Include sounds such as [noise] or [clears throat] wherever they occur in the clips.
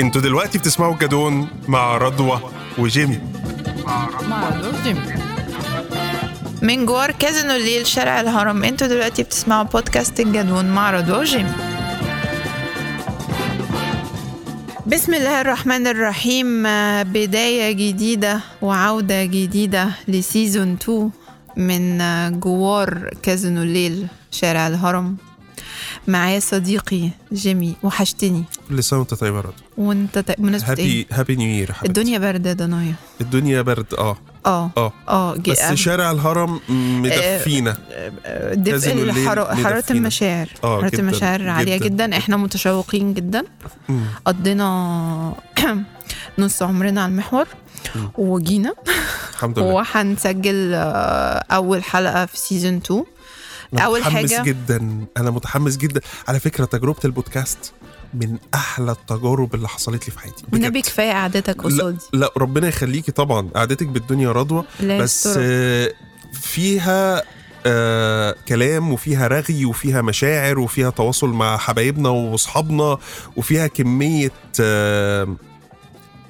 انتوا دلوقتي بتسمعوا الجدون مع رضوى وجيمي مع دور جيمي من جوار كازينو الليل شارع الهرم انتوا دلوقتي بتسمعوا بودكاست الجدون مع رضوى وجيمي بسم الله الرحمن الرحيم آه، بداية جديدة وعودة جديدة لسيزون 2 من آه، جوار كازينو الليل شارع الهرم معايا صديقي جيمي وحشتني لسه وانت طيب يا رضوى وانت ت- بمناسبة ايه؟ هابي هابي نيو يير الدنيا باردة ضنايا الدنيا برد اه اه اه اه جي- بس شارع الهرم مدفينا آه، كازينو دفء الليل الحرارة- حرارة مدفينا. المشاعر آه، حرارة جداً، المشاعر عالية جداً. جدا احنا متشوقين جدا مم. قضينا [clears throat] نص عمرنا على المحور مم. طيب. وجينا الحمد لله وهنسجل آه، اول حلقة في سيزون 2 أنا أول متحمس حاجة- جدا انا متحمس جدا على فكره تجربه البودكاست من احلى التجارب اللي حصلت لي في حياتي بجد. والنبي كفاية قعدتك لا, قصادي لا ربنا يخليكي طبعا قعدتك بالدنيا رضوى لا بس يسترها. آه، فيها آه كلام وفيها رغي وفيها مشاعر وفيها تواصل مع حبايبنا واصحابنا وفيها كميه آه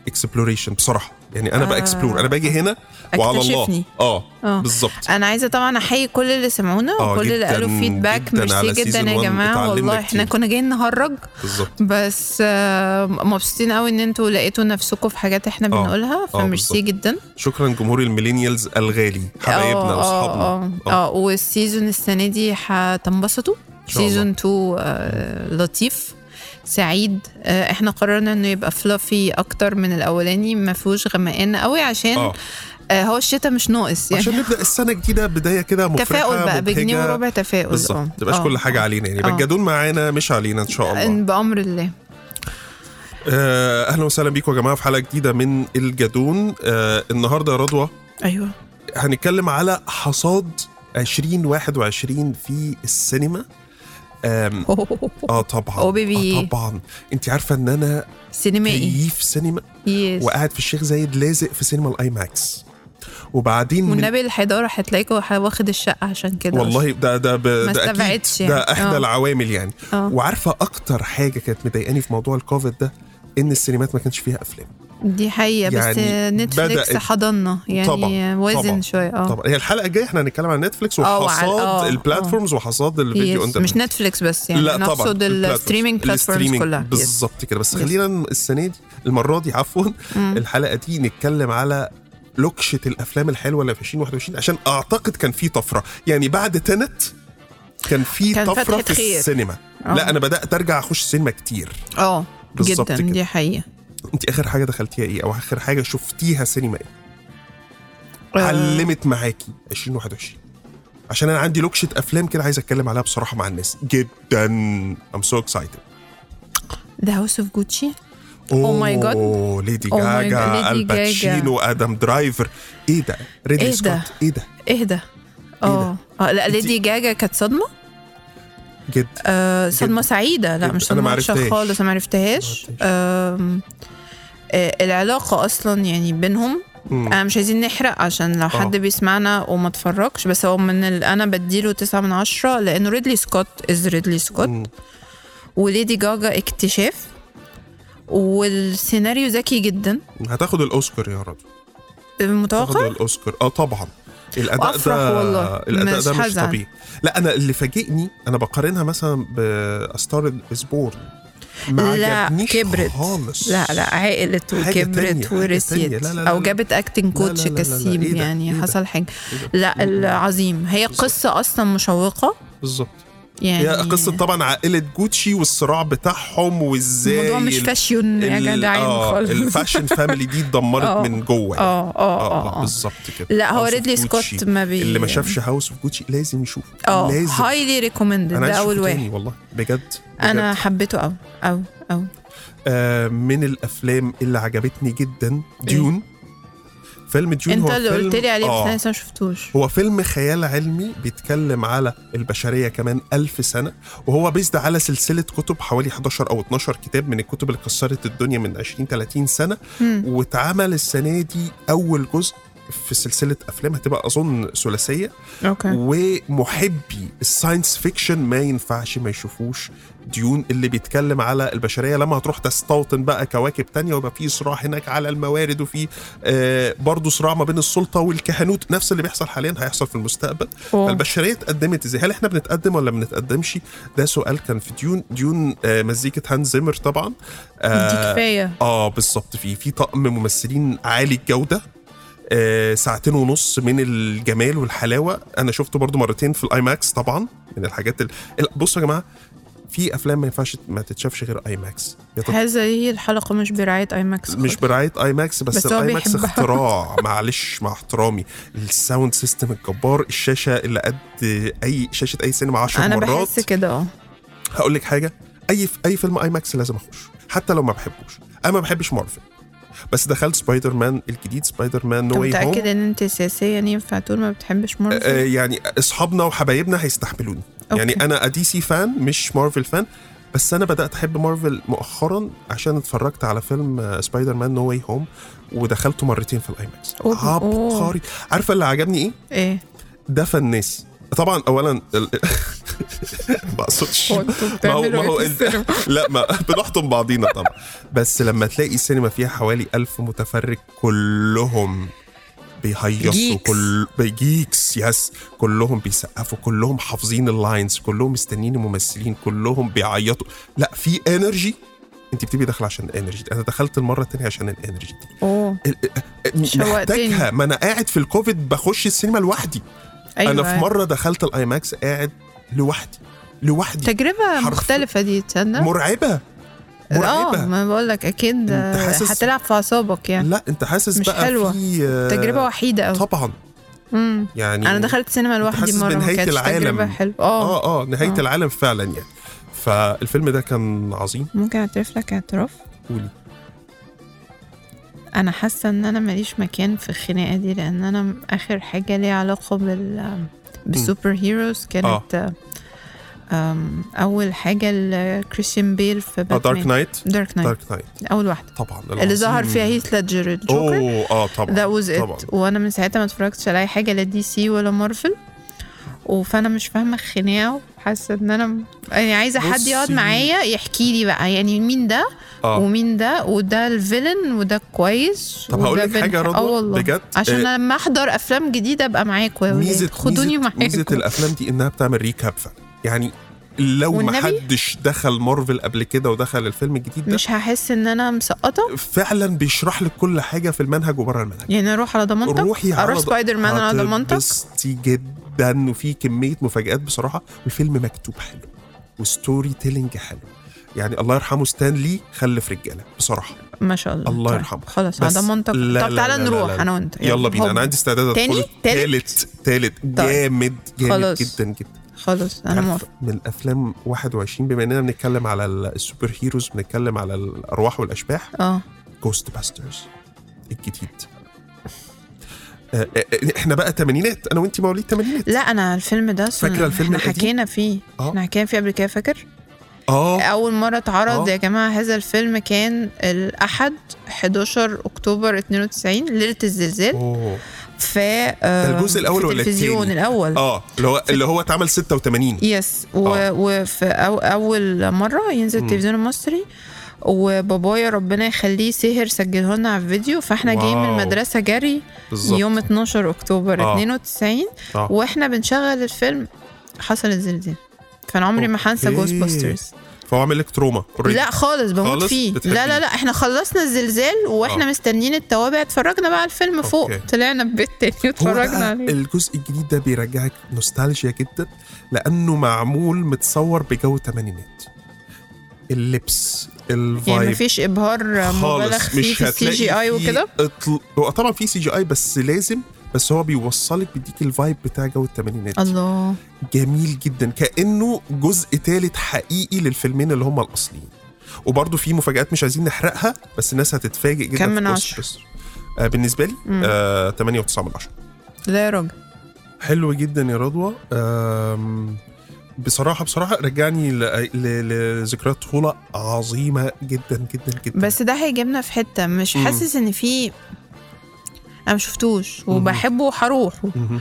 اكسبلوريشن بصراحه يعني انا آه. باكسبلور انا باجي هنا وعلى الله اكتشفني. اه, آه. بالظبط انا عايزه طبعا احيي كل اللي سمعونا آه، وكل اللي جداً- قالوا فيدباك جداً على ميرسي جدا سيزون يا وان جماعه اتعلمنا والله كتير. احنا كنا جايين نهرج بالظبط بس آه، مبسوطين قوي ان انتوا لقيتوا نفسكم في حاجات احنا بنقولها فميرسي آه. بالظبط. جدا شكرا جمهور الميلينيالز الغالي حبايبنا اه واصحابنا اه اه والسيزون السنه دي هتنبسطوا شاء الله. سيزون 2 آه، لطيف سعيد آه، احنا قررنا انه يبقى فلافي اكتر من الاولاني ما فيهوش غمقان قوي عشان اه آه، هو الشتاء مش ناقص يعني آه، عشان نبدا السنه الجديده بدايه كده مفرحه [laughs] تفاؤل بقى بجنيه مبهجة. وربع تفاؤل بالظبط اه. ما تبقاش اه. كل حاجه علينا يعني يبقى آه. الجدون معانا مش علينا ان شاء الله إن بامر الله آه، اهلا وسهلا بيكم يا جماعه في حلقه جديده من الجدون آه، النهارده يا رضوى ايوه هنتكلم على حصاد 2021 في السينما آم، اه طبعا أو بيبي. آه طبعا انت عارفه ان انا [laughs] سينمائي كيف سينما يس وقاعد في الشيخ زايد لازق في سينما الاي ماكس وبعدين من والنبي الحضاره هتلاقيكوا واخد الشقه عشان كده والله ده ده ب... ما ده اكيد استبعدش يعني. ده احدى آه. العوامل يعني آه. وعارفه اكتر حاجه كانت مضايقاني في موضوع الكوفيد ده ان السينمات ما كانش فيها افلام دي حقيقه بس يعني نتفليكس بدأت- حضننا يعني طبعاً، وزن طبعاً، شويه اه طبعا هي الحلقه الجايه احنا هنتكلم عن نتفليكس آه، وعلى- آه، آه. وحصاد البلاتفورمز وحصاد الفيديو يس. أون مش ديماند. نتفليكس بس يعني لا طبعا نقصد البلاتفورمز. الستريمينج بلاتفورمز الستريمينج كلها يس. بالظبط كده بس Yes. خلينا السنه دي المره دي عفوا الحلقه دي نتكلم على لوكشة الافلام الحلوه اللي في 2021 عشان اعتقد كان في طفره يعني بعد تنت كان في كان طفره فتحة في خير. السينما آه. لا انا بدات ارجع اخش سينما كتير اه بالظبط جدا كده. دي حقيقه انت اخر حاجه دخلتيها ايه او اخر حاجه شفتيها سينما ايه آه، علمت معاكي 2021 عشان انا عندي لوكشه افلام كده عايز اتكلم عليها بصراحه مع الناس جدا ام سو اكسايتد ذا هاوس اوف جوتشي Oh my God. ليدي Oh my God. جاجا ليدي الباتشينو ادم درايفر ايه ده ريدلي إيه ده؟ سكوت ايه ده ايه ده إيه اه اه لا ليدي جاجا كانت صدمه جد آه صدمه جدا. سعيده لا جدا. مش أنا صدمه وحشه معرفتهاش. خالص أنا ما معرفتهاش. عرفتهاش آم، آه العلاقه اصلا يعني بينهم مم. آه. انا مش عايزين نحرق عشان لو حد بيسمعنا وما اتفرجش بس هو من ال... انا بديله تسعة من عشرة لانه ريدلي سكوت از ريدلي سكوت مم. وليدي جاجا اكتشاف والسيناريو ذكي جدا هتاخد الاوسكار يا رضو متوقع تاخد الاوسكار اه طبعا الاداء آه، وأفرح ده والله. الاداء مش ده مش هزعل. طبيعي لا انا اللي فاجئني انا بقارنها مثلا باستار سبورن ما لا عجبنيش كبرت خالص لا لا عقلت حاجة تانية، حاجة وكبرت تانية. ورسيت لا، لا، لا، او لا. جابت اكتنج لا، لا، كوتش لا، لا، لا. كسيم إيه ده؟ إيه يعني ده؟ حصل حاجه إيه ده؟ لا العظيم هي قصه اصلا مشوقه بالظبط يعني هي قصه طبعا عائله جوتشي والصراع بتاعهم وازاي الموضوع مش ال- فاشيون يا ال- جدعان آه، خالص الفاشن فاميلي دي اتدمرت [laughs] آه. من جوه يعني. اه اه اه بالظبط كده لا هو House of ريدلي Gucci. سكوت ما بي اللي ما شافش هاوس اوف جوتشي لازم يشوفه اه لازم هايلي ريكومندد انا ده عايز اول أشوفه واحد تاني والله بجد, بجد. انا حبيته قوي قوي قوي آه من الافلام اللي عجبتني جدا ديون فيلم ديون انت هو إيه؟ اللي فيلم قلت لي عليه بس آه. انا لسه ما شفتوش هو فيلم خيال علمي بيتكلم على البشرية كمان ألف سنة وهو بيزد على سلسلة كتب حوالي 11 أو 12 كتاب من الكتب اللي كسرت الدنيا من 20 30 سنة مم. واتعمل السنة دي أول جزء في سلسله افلام هتبقى اظن ثلاثيه اوكي ومحبي الساينس فيكشن ما ينفعش ما يشوفوش ديون اللي بيتكلم على البشريه لما هتروح تستوطن بقى كواكب تانية ويبقى في صراع هناك على الموارد وفي آه برضه صراع ما بين السلطه والكهنوت نفس اللي بيحصل حاليا هيحصل في المستقبل أوه. فالبشريه اتقدمت ازاي هل احنا بنتقدم ولا ما بنتقدمش ده سؤال كان في ديون ديون آه مزيكه هانز زيمر طبعا دي كفايه اه بالظبط في في طقم ممثلين عالي الجوده آه ساعتين ونص من الجمال والحلاوه انا شفته برضو مرتين في الاي ماكس طبعا من الحاجات ال... ال- بصوا يا جماعه في افلام ما ينفعش ما تتشافش غير اي ماكس يا تت- هذه الحلقه مش برعايه اي ماكس مش برعايه اي ماكس بس, بس هو الاي ماكس بيحبها. اختراع معلش مع احترامي الساوند سيستم الجبار الشاشه اللي قد اي شاشه اي سينما 10 انا مرات بحس كده اه هقول لك حاجه اي اي فيلم اي ماكس لازم اخش حتى لو ما بحبوش انا ما بحبش مارفل بس دخلت سبايدر مان الجديد سبايدر مان انت نو واي هوم متاكد ان انت سياسيا ينفع تقول ما بتحبش آه، مارفل يعني اصحابنا وحبايبنا هيستحملوني يعني أوكي. انا دي سي فان مش مارفل فان بس انا بدات احب مارفل مؤخرا عشان اتفرجت على فيلم آه، سبايدر مان نو واي هوم ودخلته مرتين في الاي ماكس أوه. عبقري عارفه اللي عجبني ايه ايه ده فنيس طبعا اولا ال... [laughs] ما اقصدش هو انتوا بتعملوا ايه في السينما؟ [laughs] لا ما بنحطم بعضينا طبعا بس لما تلاقي السينما فيها حوالي ألف متفرج كلهم بيهيصوا جيكس. كل جيكس يس كلهم بيسقفوا كلهم حافظين اللاينز كلهم مستنيين الممثلين كلهم بيعيطوا لا في انرجي انت بتبقي داخله عشان الانرجي دي. انا دخلت المره الثانيه عشان الانرجي دي اوه ال- ال- شوقتني. محتاجها ما انا قاعد في الكوفيد بخش السينما لوحدي ايوه انا في مره دخلت الاي ماكس قاعد لوحدي لوحدي تجربه حرف- مختلفه دي تصدق مرعبه اه مرعبه ما بقول لك اكيد انت آه، حاسس- هتلعب في اعصابك يعني لا انت حاسس مش بقى حلوة. في آه، تجربه وحيده قوي طبعا امم يعني انا دخلت سينما لوحدي حاسس مره ما بنهاية كانتش تجربه العالم. حلوه اه اه اه نهايه آه. العالم فعلا يعني فالفيلم ده كان عظيم ممكن اعترف لك اعتراف قولي انا حاسه ان انا ماليش مكان في الخناقه دي لان انا اخر حاجه ليها علاقه بال بالسوبر هيروز كانت آه. آم، اول حاجه لكريستيان بيل في اه دارك باتمان نايت دارك نايت دارك نايت اول واحده طبعا اللي ظهر العظيم. فيها هيث ليدجر الجوكر اوه اه طبعا ذا واز طبعا. ات وانا من ساعتها ما اتفرجتش على اي حاجه لا دي سي ولا مارفل و- فانا مش فاهمه الخناقه وحاسه ان انا يعني عايزه حد يقعد بصي. معايا يحكي لي بقى يعني مين ده آه. ومين ده وده الفيلن وده كويس طب هقول وده لك حاجة يا بنح- رضوى، آه والله. بجد، عشان آه، لما احضر افلام جديده ابقى معاكم يا ولاد ميزه يعني خدوني ميزة- ميزه معاكم الافلام دي انها بتعمل ريكاب فعلا يعني لو ما والنبي؟ حدش دخل مارفل قبل كده ودخل الفيلم الجديد ده مش هحس ان انا مسقطه فعلا بيشرح لك كل حاجه في المنهج وبره المنهج يعني اروح على ضمانتك روحي اروح سبايدر مان على ضمانتك بستي جدا وفي كميه مفاجآت بصراحه والفيلم مكتوب حلو وستوري تيلينج حلو يعني الله يرحمه ستان لي خلف رجاله بصراحه ما شاء الله الله طيب، يرحمه. خلاص على بس ضمانتك لا- طب لا- تعالى لا- لا- نروح لا- لا. انا وانت يلا بينا هوب. انا عندي استعداد ادخل تاني؟ تالت؟ طيب. تالت تالت جامد جامد خلاص. جدا جدا خلاص انا عارف موافقه من الافلام 21 بما اننا بنتكلم على ال- السوبر هيروز بنتكلم على الارواح والاشباح اه جوست باسترز الجديد آه، آه، احنا بقى تمانينات انا وانت مواليد تمانينات لا انا الفيلم ده أصلاً فاكرة الفيلم احنا القديم؟ حكينا فيه آه. احنا حكينا فيه قبل كده فاكر اه اول مره اتعرض آه. يا جماعه هذا الفيلم كان الاحد 11 اكتوبر 92 ليله الزلزال أوه. في ده آه الجزء الأول في ولا التلفزيون التاني؟ الاول اه اللي هو اللي هو اتعمل 86 يس و... آه. وفي أو... اول مره ينزل التلفزيون المصري وبابايا ربنا يخليه سهر سجله لنا على الفيديو فاحنا جايين من واو. المدرسه جري بالظبط يوم 12 اكتوبر آه. 92 آه. واحنا بنشغل الفيلم حصل الزلزال فانا عمري ما هنسى أوكي. جوست باسترز فهو عامل لك تروما already. لا خالص بموت خالص؟ فيه بتحبيه؟ لا لا لا احنا خلصنا الزلزال واحنا آه. مستنيين التوابع اتفرجنا بقى على الفيلم فوق أوكي. طلعنا البيت تاني هو بقى واتفرجنا عليه الجزء الجديد ده بيرجعك نوستالجيا جدا لانه معمول متصور بجو التمانينات اللبس يعني الفايب مفيش ابهار مبالغ خالص فيه مش في السي هتلاقي جي فيه اي وكده اطل... هو طبعا في سي جي اي بس لازم بس هو بيوصلك بيديك الفايب بتاع جو التمانينات الله جميل جدا كانه جزء ثالث حقيقي للفيلمين اللي هم الاصليين وبرضه في مفاجات مش عايزين نحرقها بس الناس هتتفاجئ جدا كم في من Ghostbusters. عشرة؟ آه بالنسبه لي مم. آه 8 و9 من 10 لا يا راجل حلو جدا يا رضوى آم، بصراحه بصراحه رجعني ل- ل- لذكريات طفوله عظيمه جدا جدا جدا بس ده هيجيبنا في حته مش مم. حاسس ان في انا مشفتوش وبحبه وهروح مهم.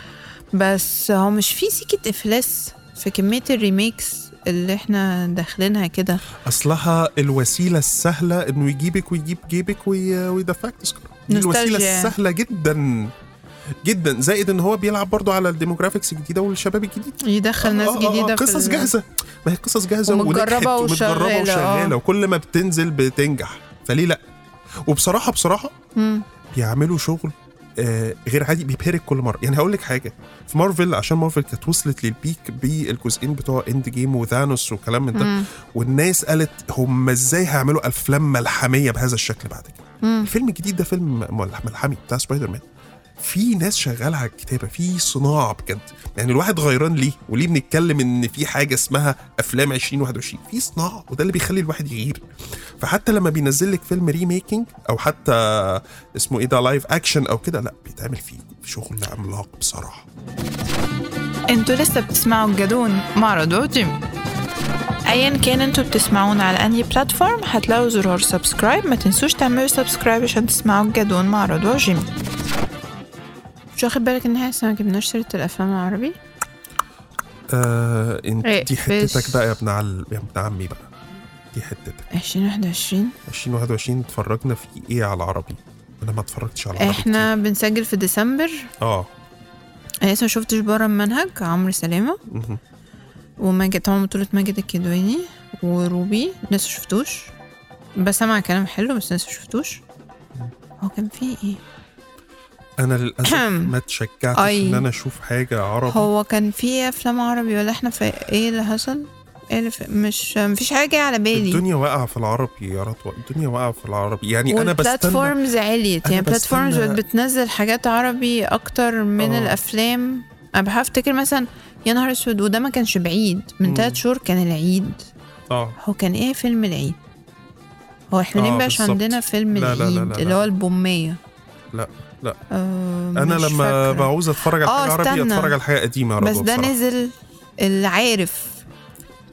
بس هو مش في سكه افلاس في كميه الريميكس اللي احنا داخلينها كده اصلها الوسيله السهله انه يجيبك ويجيب جيبك وي... ويدفعك تذكره دي نوستالجيا. الوسيله السهله جدا جدا زائد ان هو بيلعب برضو على الديموغرافيكس الجديده والشباب الجديد يدخل ناس آه، آه، آه، جديده في قصص ال- جاهزه ما هي قصص جاهزه ومتجربة ونجحت وشغالة، آه. ومتجربه وشغاله وكل ما بتنزل بتنجح فليه لا وبصراحه بصراحه مم. بيعملوا شغل آه، غير عادي بيبهرك كل مره يعني هقول لك حاجه في مارفل عشان مارفل كانت وصلت للبيك بالجزئين بتوع اند جيم وثانوس وكلام من ده مم. والناس قالت هم ازاي هيعملوا افلام ملحميه بهذا الشكل بعد كده مم. الفيلم الجديد ده فيلم ملح- ملحمي بتاع سبايدر مان في ناس شغاله على الكتابه في صناعه بجد يعني الواحد غيران ليه وليه بنتكلم ان في حاجه اسمها افلام 2021 في صناعه وده اللي بيخلي الواحد يغير فحتى لما بينزل لك فيلم ريميكينج او حتى اسمه ايه ده لايف اكشن او كده لا بيتعمل فيه شغل عملاق بصراحه انتوا لسه بتسمعوا الجدون مع رضوى وجيم ايا كان انتوا بتسمعونا على انهي بلاتفورم هتلاقوا زرار سبسكرايب ما تنسوش تعملوا سبسكرايب عشان تسمعوا الجدون مع رضوى وجيم مش واخد بالك ان احنا لسه ما جبناش سيره الافلام العربي آه انت إيه، دي حتتك فيش. بقى يا ابن عل... يا ابن عمي بقى دي حتتك 2021 2021 اتفرجنا في ايه على العربي انا ما اتفرجتش على العربي احنا بنسجل في ديسمبر كتير. اه انا لسه ما شفتش بره المنهج عمرو سلامه مهم. وماجد طبعا بطولة ماجد الكدواني وروبي لسه شفتوش بسمع كلام حلو بس لسه شفتوش هو كان فيه ايه انا للاسف ما اتشجعتش أي. ان انا اشوف حاجه عربي هو كان في افلام عربي ولا احنا في ايه اللي حصل ايه اللي في مش مفيش حاجه جايه على بالي الدنيا واقعه في العربي يا رضوى الدنيا واقعه في العربي يعني انا بستنى والبلاتفورمز عليت أنا يعني بلاتفورمز بستنى- بقت بتنزل حاجات عربي اكتر من آه. الافلام انا بحاول افتكر مثلا يا نهار اسود وده ما كانش بعيد من مم. ثلاث شهور كان العيد اه هو كان ايه فيلم العيد هو احنا ليه آه، مبقاش بالظبط. عندنا فيلم لا، لا، العيد لا، لا، لا. اللي هو البومية لا، لا. آه انا مش لما فاكرة. بعوز اتفرج على آه، حاجه عربي استنى. اتفرج على حاجه قديمه يا رضوى بس ده بصراحة. نزل العارف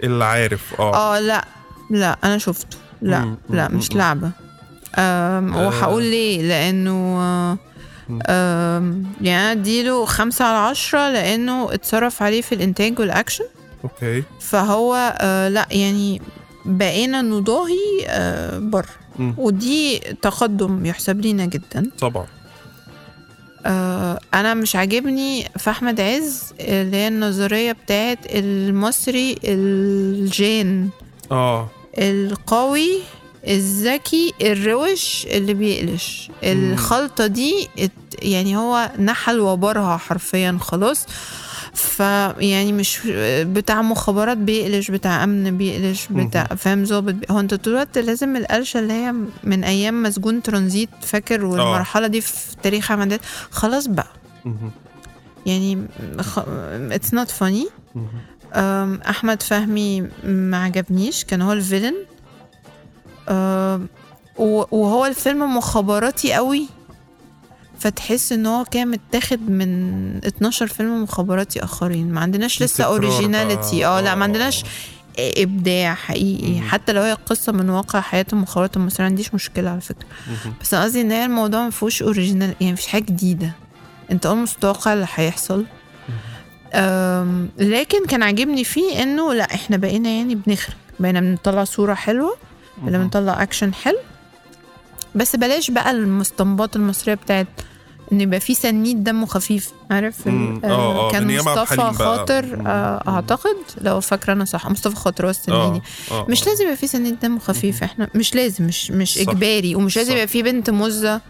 اللي عارف اه اه لا لا انا شفته لا مم، لا مم، مش مم. لعبة آم، آه. وهقول ليه لانه آه، مم. آم، يعني أنا اديله خمسة على عشرة لانه اتصرف عليه في الانتاج والاكشن اوكي فهو آه لا يعني بقينا نضاهي آه بره مم. ودي تقدم يحسب لينا جدا طبعا آه انا مش عاجبني في احمد عز آه، اللي هي النظريه بتاعت المصري الجان اه القوي الذكي الروش اللي بيقلش الخلطه دي ات- يعني هو نحل وبرها حرفيا خلاص فيعني مش بتاع مخابرات بيقلش بتاع امن بيقلش بتاع فاهم ظابط بي- هو انت طول الوقت لازم القلشه اللي هي من ايام مسجون ترانزيت فاكر والمرحله دي في تاريخ عمدات خلاص بقى مهم. يعني اتس نوت فاني مهم. أم، احمد فهمي ما عجبنيش كان هو الفيلن أم، و- وهو الفيلم مخابراتي قوي فتحس ان هو كان متاخد من 12 فيلم مخابراتي اخرين ما عندناش في لسه تكرار بقى. اوريجيناليتي اه لا آه، ما عندناش ابداع حقيقي مم. حتى لو هي قصه من واقع حياه المخابرات المصريه ما عنديش مشكله على فكره مهم. بس انا قصدي ان هي الموضوع ما فيهوش اوريجينال يعني مفيش حاجه جديده انت اولموست متوقع اللي هيحصل أم، لكن كان عاجبني فيه انه لا احنا بقينا يعني بنخرج بقينا بنطلع صوره حلوه بقينا بنطلع اكشن حلو بس بلاش بقى المستنبطات المصريه بتاعت ان يبقى في سنيد دمه خفيف عارف ال- مم. ال- آه، آه، من كان أيام عبد مصطفى الحليم بقى. خاطر مم. آه، مم. اعتقد لو فاكره انا صح مصطفى خاطر هو السنيدي اه آه، يعني مش آه. لازم يبقى في سنيد دم خفيف احنا مش لازم مش مش صح. اجباري ومش لازم صح. يبقى في بنت مزه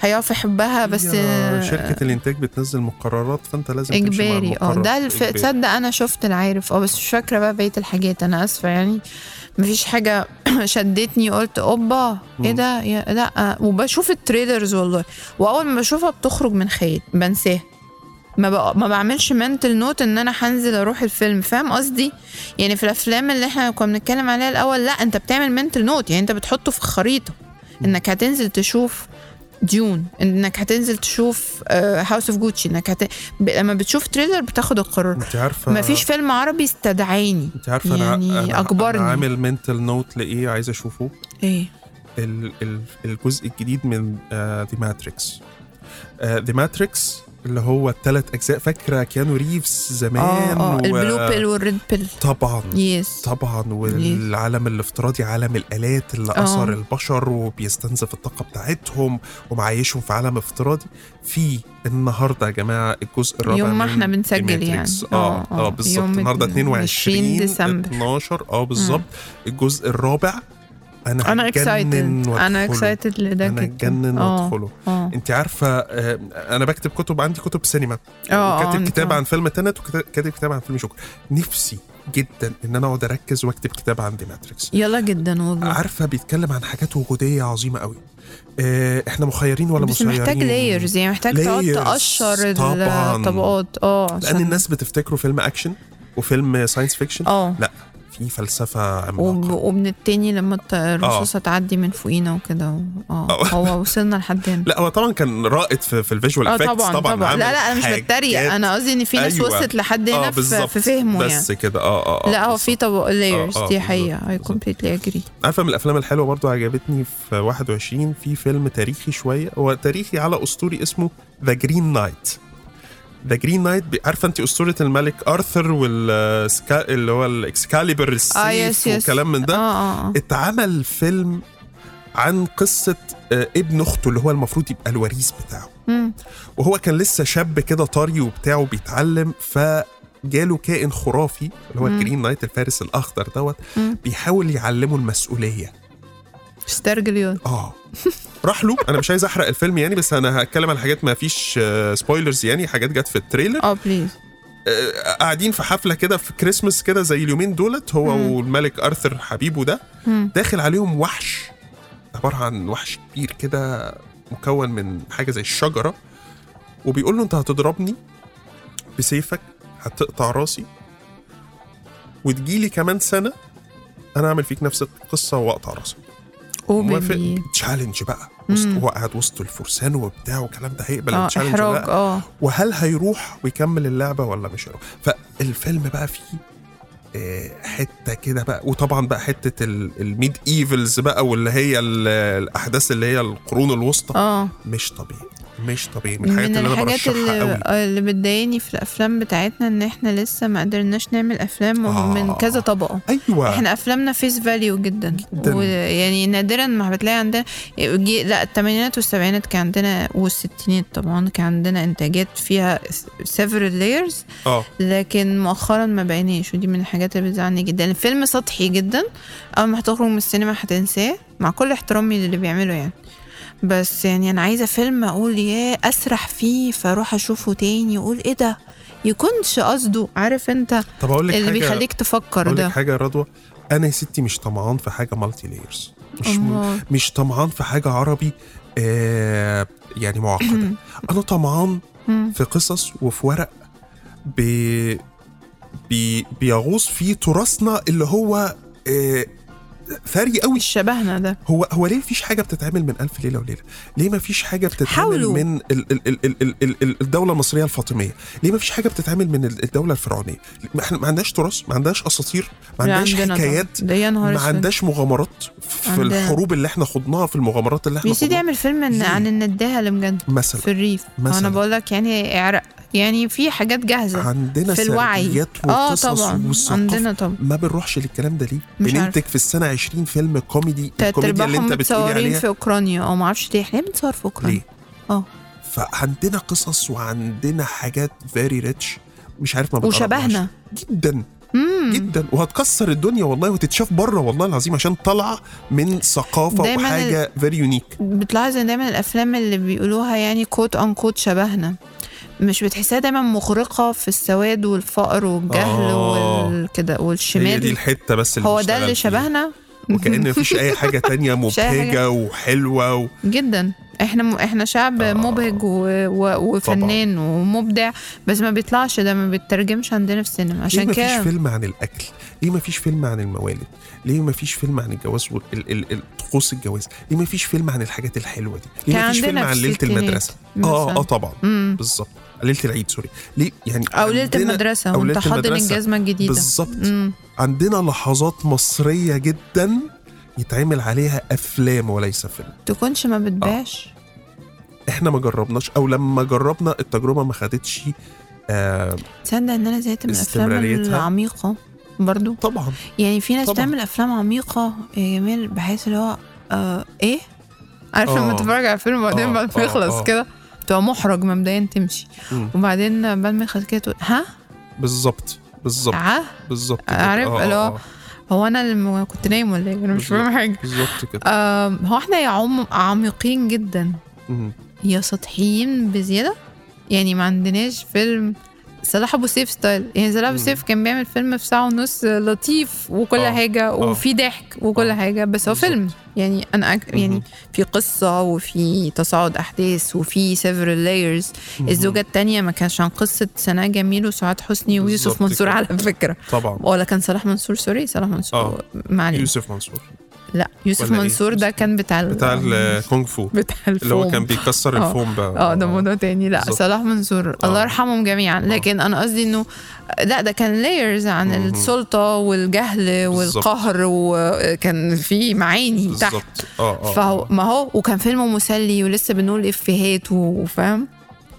هيقف يحبها بس هي آه، شركه الانتاج بتنزل مقررات فانت لازم تمشي مع اجباري اه المقرر. ده الف... إجباري. تصدق انا شفت العارف اه بس مش فاكره بقى بقيه الحاجات انا اسفه يعني مفيش حاجه [clears throat] شدتني قلت اوبا ايه ده يا... لا آه، وبشوف التريلرز والله واول ما بشوفها بتخرج من خيال بنساها ما بق... ما بعملش منتل نوت ان انا هنزل اروح الفيلم فاهم قصدي يعني في الافلام اللي احنا كنا بنتكلم عليها الاول لا انت بتعمل منتل نوت يعني انت بتحطه في الخريطه انك هتنزل تشوف ديون انك هتنزل تشوف آه، هاوس اوف جوتشي انك هت... ب... لما بتشوف تريلر بتاخد القرار انت عارفه مفيش فيلم عربي استدعاني انت عارفه انا يعني أنا- أجبرني. انا عامل منتل نوت لايه عايز اشوفه ايه آه، ال- ال- الجزء الجديد من ذا ماتريكس ذا ماتريكس آه، اللي هو الثلاث اجزاء فاكره كيانو ريفز زمان اه اه البلو بيل والريد بيل طبعا يس طبعا والعالم الافتراضي عالم الالات اللي آه. اثر البشر وبيستنزف الطاقه بتاعتهم ومعيشهم في عالم افتراضي في النهارده يا جماعه الجزء الرابع يوم ما من احنا بنسجل The Matrix. يعني. اه آه، آه. اه بالظبط يوم النهارده 22 ديسمبر. آه. 12 اه بالظبط الجزء الرابع انا انا اكسايتد انا اكسايتد لده انا جدا اتجنن آه. وادخله اه انت عارفه آه، انا بكتب كتب عندي كتب سينما آه، آه، كاتب أنت- كتاب عن فيلم تنت وكاتب كتاب عن فيلم شوكر نفسي جدا ان انا اقعد اركز واكتب كتاب عن دي ماتريكس يلا جدا والله عارفه بيتكلم عن حاجات وجوديه عظيمه قوي آه، احنا مخيرين ولا بس مسيرين محتاج لايرز يعني محتاج تقعد layers تقشر طبعاً. الطبقات اه لان عشان- الناس بتفتكره فيلم اكشن وفيلم ساينس فيكشن اه لا في فلسفه وب- عملاقه ومن التاني لما الت- آه. الرصاصة تعدي من فوقينا وكده و- اه [laughs] هو وصلنا لحد هنا لا هو طبعا كان رائد في, في الفيجوال اه افكتس طبعا طبعا, عمل لا لا انا مش حاجات- بتريق انا قصدي ان في ناس أيوة. وصلت لحد هنا اه في, بالظبط في فهمه يعني بس كده اه اه لا هو بالظبط. في طبق layers آه، دي بالظبط، حقيقة I بالظبط. completely agree عارفه من الافلام الحلوه برضو عجبتني في 21 في فيلم تاريخي شويه هو تاريخي على اسطوري اسمه ذا جرين نايت ذا جرين نايت عارفه انت اسطوره الملك ارثر والسكا اللي هو الاكسكاليبر اه السيف يس يس والكلام من اه ده اه آه. اتعمل فيلم عن قصه آه، ابن اخته اللي هو المفروض يبقى الوريث بتاعه مم. وهو كان لسه شاب كده طري وبتاعه بيتعلم ف جاله كائن خرافي اللي هو مم. الجرين نايت الفارس الاخضر دوت مم. بيحاول يعلمه المسؤوليه استرجل يلا اه راح له انا مش عايز احرق الفيلم يعني بس انا هتكلم عن حاجات ما فيش آه، سبويلرز يعني حاجات جت في التريلر اه بليز آه، قاعدين في حفله كده في كريسمس كده زي اليومين دولت هو مم. والملك ارثر حبيبه ده مم. داخل عليهم وحش عباره عن وحش كبير كده مكون من حاجه زي الشجره وبيقول له انت هتضربني بسيفك هتقطع راسي وتجيلي كمان سنه انا هعمل فيك نفس القصه واقطع راسك موافق اوبن تشالنج بقى وسط مم. هو قاعد وسط الفرسان وبتاع والكلام ده هيقبل اه التشالنج ولا احراج لا اه وهل هيروح ويكمل اللعبه ولا مش هيروح فالفيلم بقى فيه آه، حته كده بقى وطبعا بقى حته ال- الميد ايفلز بقى واللي هي ال- الاحداث اللي هي القرون الوسطى اه مش طبيعي مش طبيعي من الحاجات من اللي انا الحاجات برشحها اللي, قوي آه، اللي بتضايقني في الافلام بتاعتنا ان احنا لسه ما قدرناش نعمل افلام آه. من كذا طبقه ايوه احنا افلامنا فيس فاليو جدا جداً. ويعني نادرا ما بتلاقي عندنا جي- لا الثمانينات والسبعينات كان عندنا والستينات طبعا كان عندنا انتاجات فيها سيفرال لايرز اه لكن مؤخرا ما بقيناش ودي من الحاجات اللي بتزعلني جدا الفيلم سطحي جدا اول ما هتخرج من السينما هتنساه مع كل احترامي للي بيعمله يعني بس يعني انا عايزه فيلم اقول يا اسرح فيه فاروح اشوفه تاني اقول ايه ده يكونش قصده عارف انت طب اقول لك اللي حاجه بيخليك تفكر اقول لك ده حاجه يا رضوى انا يا ستي مش طمعان في حاجه مالتي لايرز مش الله. مش طمعان في حاجه عربي آه يعني معقده انا طمعان مم. في قصص وفي ورق بي بي بيغوص في تراثنا اللي هو آه ثري قوي مش شبهنا ده هو هو ليه مفيش حاجه بتتعمل من الف ليله وليله ليه مفيش حاجه بتتعمل حاولوا. من ال ال ال ال ال ال ال الدوله المصريه الفاطميه ليه مفيش حاجه بتتعمل من ال- الدوله الفرعونيه ما احنا ما عندناش تراث ما عندناش اساطير ما لا، عندناش عندنا طبعا. حكايات ده يا نهار ما اسود عندناش مغامرات في عندنا. الحروب اللي احنا خضناها في المغامرات اللي احنا يا سيدي خضناها اعمل فيلم عن- ليه؟ عن النداهه اللي مجد مثلا في الريف انا مثلاً. بقول لك يعني اعرق يعني في حاجات جاهزه عندنا في الوعي سرديات اه وقصص طبعا والثقافة. عندنا طبعا ما بنروحش للكلام ده ليه مش بننتج عارف. في السنه 20 فيلم كوميدي تلات الكوميديا اللي ارباعهم انت بتقولي متصورين عليها في اوكرانيا او ما اعرفش ليه احنا ليه إيه بنتصور في اوكرانيا ليه؟ اه. فعندنا قصص وعندنا حاجات فيري ريتش مش عارف ما بنقربهاش. وشبهنا جدا امم جدا وهتكسر الدنيا والله وتتشاف بره والله العظيم عشان طالعه من ثقافه دايماً وحاجه فيري يونيك بتلاحظ ان دايما الافلام اللي بيقولوها يعني كوت ان كوت شبهنا مش بتحسها دايما مغرقه في السواد والفقر والجهل آه. والكده هي دي والشمال الحته بس اللي هو ده اللي بنشتغل فيها. شبهنا وكأن مفيش أي [laughs] حاجة تانية مفيش أي حاجة. مبهجة وحلوة و... جدا احنا م... احنا شعب آه. آه. مبهج و... و... وفنان ومبدع بس ما بيطلعش ده ما بيترجمش عندنا في السينما ليه عشان مفيش كده فيلم عن الأكل؟ ليه مفيش فيلم عن الموالد؟ ليه مفيش فيلم عن الجواز وال- ال- ال- ال- طقوس الجواز؟ ليه مفيش فيلم عن الحاجات الحلوة دي؟ ليه كان مفيش فيلم عندنا عن في ليلة الستينات المدرسة؟ مثلاً. اه اه طبعا مم. بالظبط ليله العيد سوري ليه يعني او ليله عندنا- المدرسه أو وانت ليلة حاضن المدرسة. الجزمه الجديده بالظبط مم. عندنا لحظات مصريه جدا يتعمل عليها افلام وليس فيلم آه. تكونش ما بتباعش احنا ما جربناش او لما جربنا التجربه ما خدتش آه تصدق ان انا زهقت من الافلام استمراريتها. العميقه برضو طبعا يعني في ناس طبعاً. بتعمل افلام عميقه يا جميل بحيث اللي هو آه ايه عارف لما آه. تتفرج على فيلم وبعدين آه، بعد ما آه، يخلص آه. كده تبقى محرج مبدئيا تمشي مم. وبعدين بعد ما يخلص كده تقول ها بالظبط بالظبط اه بالظبط كده. عارف آه، اللي هو- آه، آه، هو انا اللي كنت نايم ولا ايه انا مش بالظبط. فاهم حاجه بالظبط كده آه هو احنا يا عم عميقين جدا مم. يا سطحيين بزياده يعني ما عندناش فيلم صلاح ابو سيف ستايل يعني صلاح ابو مم. سيف كان بيعمل فيلم في ساعه ونص لطيف وكل آه، حاجه آه. وفي ضحك وكل آه، حاجه بس هو بالظبط. فيلم يعني انا أك... يعني مهم. في قصه وفي تصاعد احداث وفي سيفرال لايرز مهم. الزوجه الثانيه ما كانش عن قصه سناء جميل وسعاد حسني ويوسف بالظبط منصور كده. على فكره طبعا ولا كان صلاح منصور سوري صلاح منصور ما علينا يوسف منصور لا يوسف آه. ولا إيه؟ منصور ده كان بتاع ال- بتاع الكونغ فو بتاع اللي هو كان الفوم. بيكسر آه. الفوم بقى اه ده موضوع تاني لا بالظبط. صلاح منصور آه. الله يرحمهم جميعا لكن انا قصدي انه لا ده كان لايرز عن مهم. السلطه والجهل بالظبط. والقهر وكان في معاني تحت بالظبط اه اه فهو ما هو وكان فيلم مسلي ولسه بنقول افيهات و- وفاهم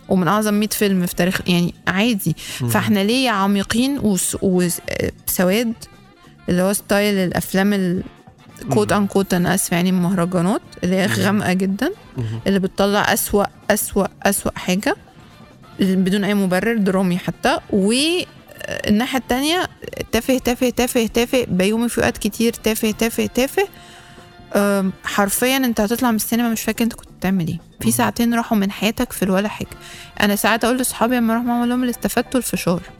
ومن اعظم 100 فيلم في تاريخ يعني عادي مهم. فاحنا ليه عميقين وس- وسواد اللي هو ستايل الافلام ال كوت ان كوت انا اسفه يعني المهرجانات اللي هي غامقه جدا مهم. اللي بتطلع اسوأ اسوأ اسوأ حاجه بدون اي مبرر درامي حتى والناحيه التانية تافه تافه تافه تافه بيومي فؤاد كتير تافه تافه تافه أم، حرفيا انت هتطلع من السينما مش فاكر انت كنت بتعمل ايه في ساعتين راحوا من حياتك في الولا حاجه انا ساعات اقول لاصحابي اما اروح معاهم أقول لهم اللي استفدتوا الفشار [laughs]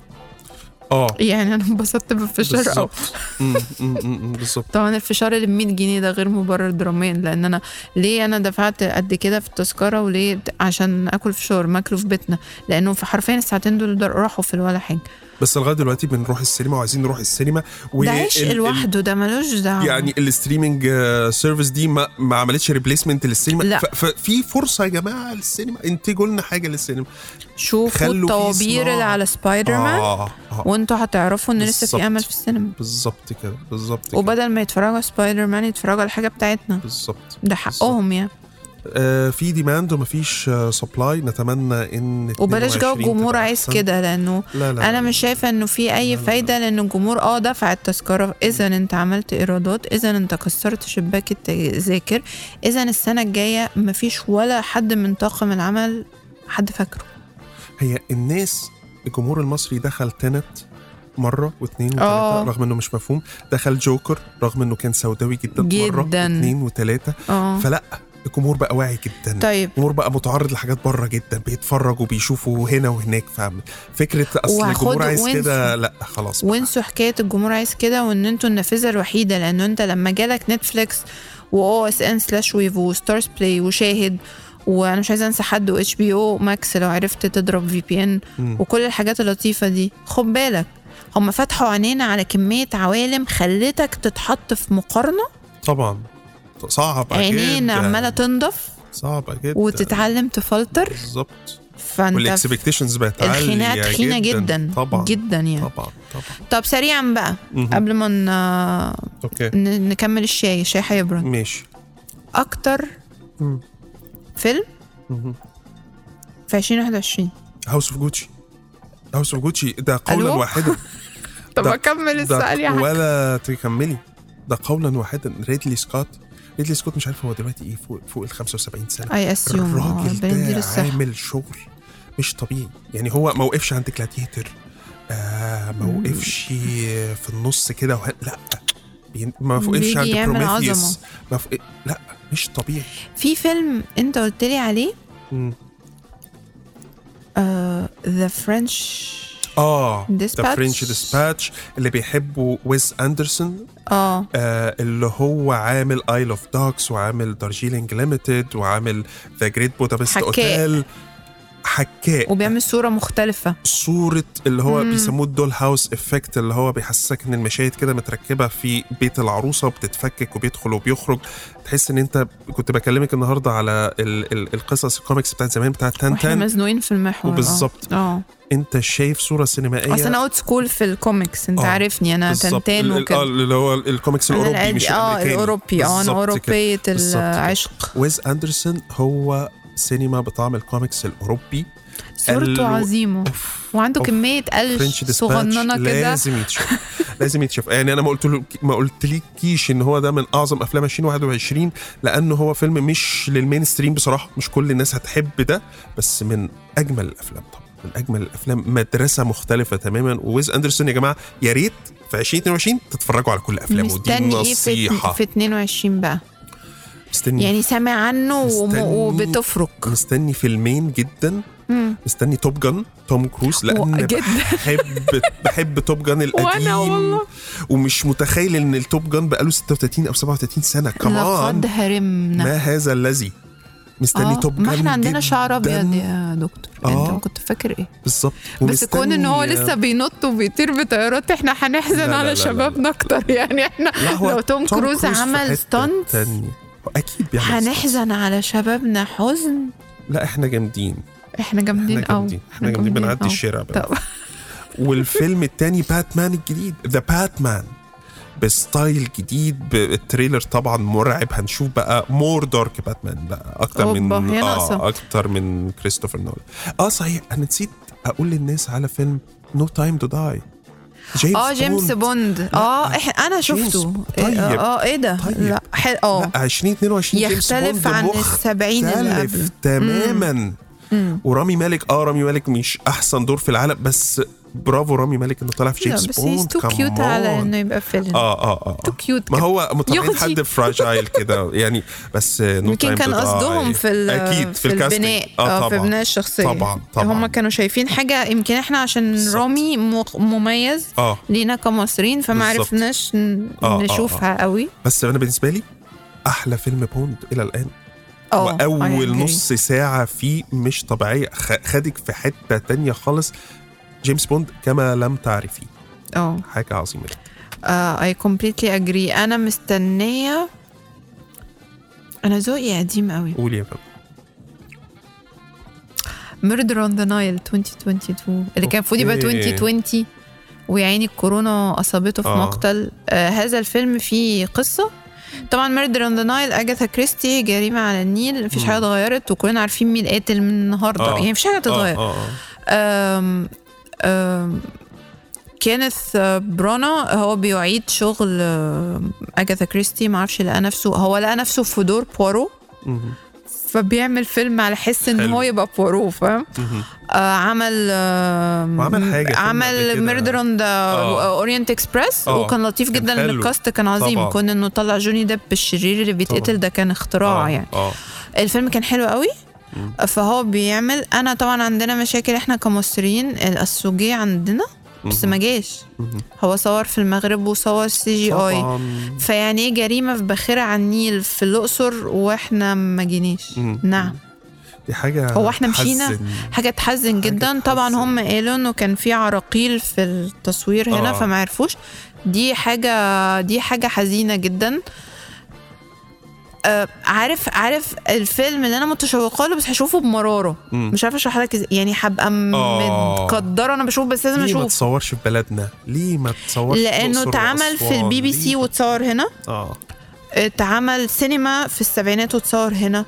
اه يعني انا انبسطت بالفشار أوي بالظبط مم، مم، مم، بالظبط طبعا الفشار اللي ب 100 جنيه ده غير مبرر دراميا لان انا ليه انا دفعت قد كده في التذكره وليه د- عشان اكل فشار ما اكله في بيتنا لانه في حرفيا الساعتين دول در- راحوا في الولا حاجه بس لغايه دلوقتي بنروح السينما وعايزين نروح السينما و ده عشق ال- ال- لوحده ده ملوش دعوه يعني الاستريمنج سيرفيس دي ما, ما عملتش ريبليسمنت للسينما لا. ف- ففي فرصه يا جماعه للسينما انتجوا لنا حاجه للسينما شوفوا خلوا فيه الطوابير صناعة. اللي على سبايدر مان آه. اه آه، وانتوا هتعرفوا ان لسه بالظبط. في امل في السينما بالظبط كده بالظبط كده وبدل ما يتفرجوا على سبايدر مان يتفرجوا على الحاجه بتاعتنا بالظبط ده حقهم يعني آه في ديماند ومفيش سبلاي آه، نتمنى ان وبلاش جو 22 الجمهور تبقى عايز أحسن. كده لانه لا لا انا لا. مش شايفه انه في اي لا، لا، فايده لان الجمهور اه دفع التذكره اذا انت عملت ايرادات اذا انت كسرت شباك التذاكر اذا السنه الجايه مفيش ولا حد من طاقم العمل حد فاكره هي الناس الجمهور المصري دخل تنت مرة واثنين آه. وثلاثة رغم انه مش مفهوم دخل جوكر رغم انه كان سوداوي جدا, مرة جداً. واثنين وثلاثة اه فلا الجمهور بقى واعي جدا طيب الجمهور بقى متعرض لحاجات بره جدا بيتفرج وبيشوفوا هنا وهناك فاهم فكرة اصل الجمهور وهاخده عايز وانسوا. كده لا خلاص بقى. وانسوا حكايه الجمهور عايز كده وان انتوا النافذه الوحيده لان انت لما جالك نتفليكس واو اس ان سلاش ويفو وستارز بلاي وشاهد وانا مش عايزه انسى حد واتش بي او ماكس لو عرفت تضرب في بي ان مم. وكل الحاجات اللطيفه دي خد بالك هم فتحوا عينينا على كميه عوالم خلتك تتحط في مقارنه طبعا صعبة عينينا جدا عماله تنضف صعبة جدا وتتعلم تفلتر بالظبط فانت والاكسبكتيشنز بقت عالية الخناقه تخينه جدا جدا, طبعا جدا يعني طبعا طبعا طب سريعا بقى مهم. قبل ما ن- اوكي ن- نكمل الشاي الشاي هيبرد ماشي اكتر مم. فيلم في 2021 هاوس اوف جوتشي هاوس اوف جوتشي ده قولا ألو؟ واحدا طب ده- اكمل السؤال يا ده حاج ولا تكملي ده قولا واحدا ريدلي سكوت ريدلي سكوت مش عارف هو دلوقتي ايه فوق فوق ال 75 سنه اي اسيوم الراجل ربنا يديله ده الصحه عامل شغل مش طبيعي يعني هو ما وقفش عند جلاديتر آه ما مم. وقفش في النص كده وه... لا بين- ما وقفش بيجي عند يعمل بروميثيوس عظمة. ما ف... لا مش طبيعي في فيلم انت قلت لي عليه آه، مم. ذا فرنش اه ذا Dispatch. فرنش ديسباتش اللي بيحبه ويس اندرسون اه آه اللي هو عامل ايل اوف دوكس وعامل دارجيلينج ليميتد وعامل ذا جريت بودابست حكاء. اوتيل حكاء وبيعمل صوره مختلفه صورة اللي هو مم. بيسموه الدول هاوس افكت اللي هو بيحسسك ان المشاهد كده متركبة في بيت العروسة بتتفكك وبيدخل وبيخرج تحس ان انت كنت بكلمك النهاردة على ال ال القصص الكوميكس بتاعت زمان بتاعت تان واحنا تان مزنوقين في المحور آه. وبالظبط. اه انت شايف صورة سينمائية اصل انا اوت سكول في الكوميكس انت آه، عارفني انا بالظبط. تنتان ال- اه وكده اللي هو الكوميكس أنا الاوروبي العادي- مش اه الامريكاني الاوروبي اه انا بالظبط كده. اوروبيه بالظبط كده. العشق ويز اندرسون هو سينما بطعم الكوميكس الاوروبي صورته قالوا- عظيمه أوف، وعنده أوف. كميه قلش فرنش ديسباتش صغننه كده لازم يتشاف [laughs] لازم يتشاف يعني انا ما قلت له ما قلتليكيش ان هو ده من اعظم افلام 2021 لانه هو فيلم مش للمين ستريم بصراحه مش كل الناس هتحب ده بس من اجمل الافلام طبعا من اجمل الافلام مدرسه مختلفه تماما وويز اندرسون يا جماعه يا ريت في 2022 تتفرجوا على كل افلامه ودي مستني ايه في نصيحه في 22 بقى مستني يعني سامع عنه وم- مستني- وبتفرق مستني فيلمين جدا مم. مستني توب جان توم كروز لان جدا. بحب بحب توب [laughs] جان القديم وانا والله ومش متخيل ان التوب جان بقاله 36 او 37 سنه لقد كمان هرمنا آه، ما هذا الذي مستني توب جان ما احنا عندنا جداً. شعر ابيض يا دكتور آه. انت كنت فاكر ايه بالظبط بس كون ان هو ومستني- لسه بينط وبيطير بطيارات احنا لا، هنحزن لا، لا، على لا. شبابنا اكتر [laughs] يعني احنا لا هو لو توم كروز في حتة عمل ستانت تانية. هو اكيد بيعمل stunts. هنحزن على شبابنا حزن لا احنا جامدين احنا احنا جامدين قوي جامدين احنا جامدين بنعدي أوي. الشارع بقى. طب والفيلم التاني باتمان الجديد ذا باتمان بستايل جديد بالتريلر طبعا مرعب هنشوف بقى مور دارك باتمان بقى اكتر من أوبا، هي ناقصة. اه اكتر من كريستوفر نولان اه صحيح انا نسيت اقول للناس على فيلم نو تايم تو داي اه جيمس بوند اه إح- انا جيمس شفته طيب. إيه- اه ايه ده طيب. لا حل- اه لا 2022 جيمس يختلف بوند عن مختلف السبعين اللي قبل. تماما ورامي مالك اه رامي مالك مش احسن دور في العالم بس برافو رامي مالك انه طلع في لا، جيمس بس بوند هيز تو كيوت come على on. انه يبقى فيلم اه اه اه تو كيوت ما هو مطلعين يغزي. حد فراجايل كده يعني [laughs] بس نو يمكن كان قصدهم في ال- اكيد في, في الكاستنج. البناء اه اه في طبعا بناء الشخصيه طبعا طبعا هم كانوا شايفين حاجه يمكن احنا عشان بالظبط. رامي مخ- مميز اه لينا كمصريين فما بالظبط. عرفناش ن- آه، آه، نشوفها قوي بس انا بالنسبه لي احلى فيلم بوند الى الان واول آه، I agree. نص ساعه فيه مش طبيعيه خ- خدك في حته تانية خالص جيمس بوند كما لم تعرفي اه حاجه عظيمه اي كومبليتلي اجري انا مستنيه انا ذوقي قديم قوي قولي يا فندم ميردر اون ذا نايل 2022 اللي كان المفروض يبقى أوكي. 2020 ويعني الكورونا اصابته في آه. آه. مقتل آه هذا الفيلم فيه قصه طبعا ميردر اون ذا نايل اجاثا كريستي جريمه على النيل مفيش مم. حاجه اتغيرت وكلنا عارفين مين القاتل من النهارده آه. آه. يعني مفيش حاجه هتتغير اه اه آم، آم، كينيث آه، برانا هو بيعيد شغل آه، اجاثا كريستي معرفش لقى نفسه هو لقى نفسه في دور بوارو مهم. فبيعمل فيلم على حس ان حلو. هو يبقى بوارو فاهم مهم. آه، عمل آه، وعمل حاجة فيلم قبل عمل كده. ميردر اون ذا آه. اورينت اكسبريس آه. وكان لطيف كان جدا ان حلو. الكاست كان عظيم طبعاً. كون انه طلع جوني ديب الشرير اللي بيتقتل ده كان اختراع آه، يعني اه الفيلم كان حلو قوي مم. فهو بيعمل انا طبعا عندنا مشاكل احنا كمصريين الاسوجي عندنا بس مهم. ما جاش مهم. هو صور في المغرب وصور سي جي اي طبعاً. فيعني ايه جريمه في باخره على النيل في الاقصر واحنا ما جيناش مم. نعم دي حاجه هو إحنا مشينا؟ تحزن. حاجه تحزن حاجة جدا طبعا تحزن. هم قالوا انه كان في عراقيل في التصوير هنا آه. آه. فما عرفوش دي حاجه دي حاجه حزينه جدا آه، عارف عارف الفيلم اللي انا متشوقه له بس هشوفه بمراره مم. مش عارفه اشرح لك إزاي. يعني هبقى م- آه. متقدره انا بشوف بس لازم ليه ما اشوف تصورش في بلدنا؟ ليه ما تصورش لانه الأقصر اتعمل في وأسوان؟ البي بي ليه؟ سي واتصور هنا اه اتعمل سينما في السبعينات واتصور هنا آه.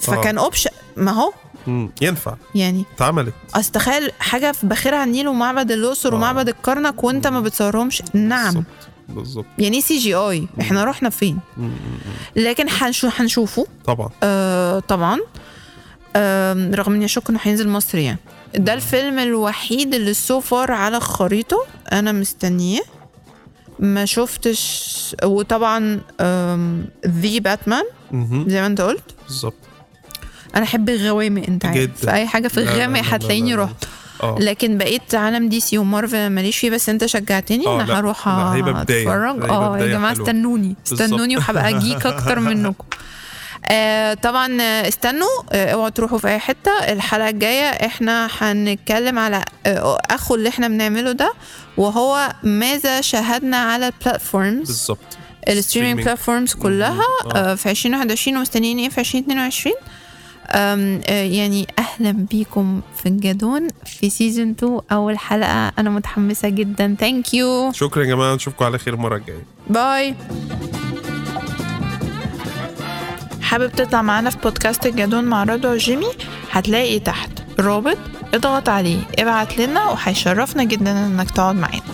فكان اوبشن ما هو مم. ينفع يعني اتعملت اصل تخيل حاجه في باخره على النيل ومعبد الاقصر آه. ومعبد الكرنك وانت ما بتصورهمش نعم بالظبط بالظبط يعني سي جي اي احنا رحنا فين مم، مم، مم. لكن هنشو هنشوفه طبعا آه طبعا آه رغم اني اشك انه هينزل مصر يعني ده آه. الفيلم الوحيد اللي سو فار على خريطه انا مستنياه ما شفتش وطبعا ذي باتمان مهم. زي ما انت قلت بالظبط انا احب الغوامق انت جدا. عارف في اي حاجه في لا، لا، الغامق لا، لا، هتلاقيني لا، لا. رحت اه لكن بقيت عالم دي سي ومارفل ماليش فيه بس انت شجعتني آه، انا لا، هروح لا، هيبقى بداية، اتفرج هيبقى اه يا بداية جماعه حلوة. استنوني بالظبط. [laughs] استنوني وهبقى جيك اكتر منكم آه طبعا آه، استنوا آه، اوعوا تروحوا في اي حته الحلقه الجايه احنا هنتكلم على آه، اخو اللي احنا بنعمله ده وهو ماذا شاهدنا على البلاتفورمز بالظبط الستريمينج streaming. بلاتفورمز كلها مم. آه. آه، في 2021 ومستنيين ايه في 2022 آم، آه، يعني اهلا بيكم في الجدون في سيزون 2 اول حلقه انا متحمسه جدا ثانك يو شكرا يا جماعه نشوفكم على خير المره الجايه باي حابب تطلع معانا في بودكاست الجدون مع رضوى وجيمي هتلاقي تحت رابط اضغط عليه ابعت لنا وهيشرفنا جدا انك تقعد معانا